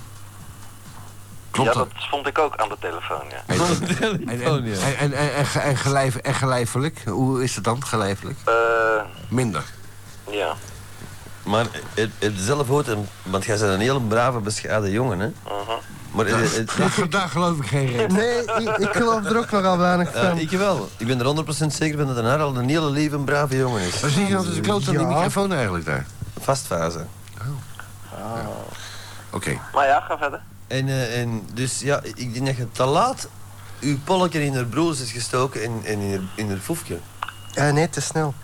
Speaker 4: Klopt
Speaker 2: ja,
Speaker 4: dat?
Speaker 2: dat vond ik ook aan de telefoon, ja.
Speaker 4: En, en, en,
Speaker 1: Telefoon, ja.
Speaker 4: en, en, en, ge- en, gelijf- en gelijfelijk? Hoe is het dan, gelijfelijk?
Speaker 2: Eh,
Speaker 4: Minder.
Speaker 2: ja.
Speaker 1: Maar het, het zelf hoort hem, want jij bent een heel brave, bescheiden jongen, hè?
Speaker 2: Mhm.
Speaker 1: Maar eh, het, het-
Speaker 4: Daar, daar geloof ik geen reden.
Speaker 9: Nee, ik, ik geloof er ook nogal weinig
Speaker 1: ja,
Speaker 9: van.
Speaker 1: eh, ik wel. Ik ben er 100% zeker van dat een Harald een hele lieve, brave jongen is.
Speaker 4: Wat zie je dat is een kloot aan die
Speaker 9: Ja.
Speaker 4: microfoon eigenlijk daar?
Speaker 1: Vastfase.
Speaker 4: Oké.
Speaker 2: Maar ja, ga verder.
Speaker 1: En, eh, en dus ja, ik denk dat je te laat uw polletje in haar broers is gestoken en, en in, haar, in haar foefje.
Speaker 9: Ja, Eh, nee, te snel.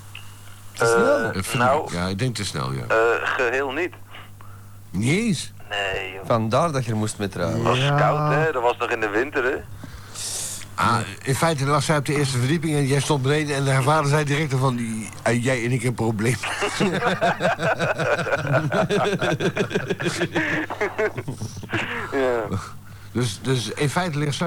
Speaker 1: Te snel.
Speaker 2: Eh,
Speaker 4: Eh, vind ik-
Speaker 2: nou,
Speaker 4: Ja, ik denk te snel, ja.
Speaker 2: eh, geheel niet.
Speaker 4: Niet eens.
Speaker 2: Nee, joh.
Speaker 1: Vandaar dat je er moest mee trouwen. [laughs]
Speaker 2: Het [laughs] was
Speaker 9: Ja.
Speaker 2: koud, hè. Dat was nog in de winter, hè.
Speaker 4: Ah, in feite lag zij op de eerste verdieping en jij stond beneden en haar vader zei direct al van "Die- eh, jij en ik een probleem. [laughs]
Speaker 2: Ja.
Speaker 4: Dus, dus in feite ligt zij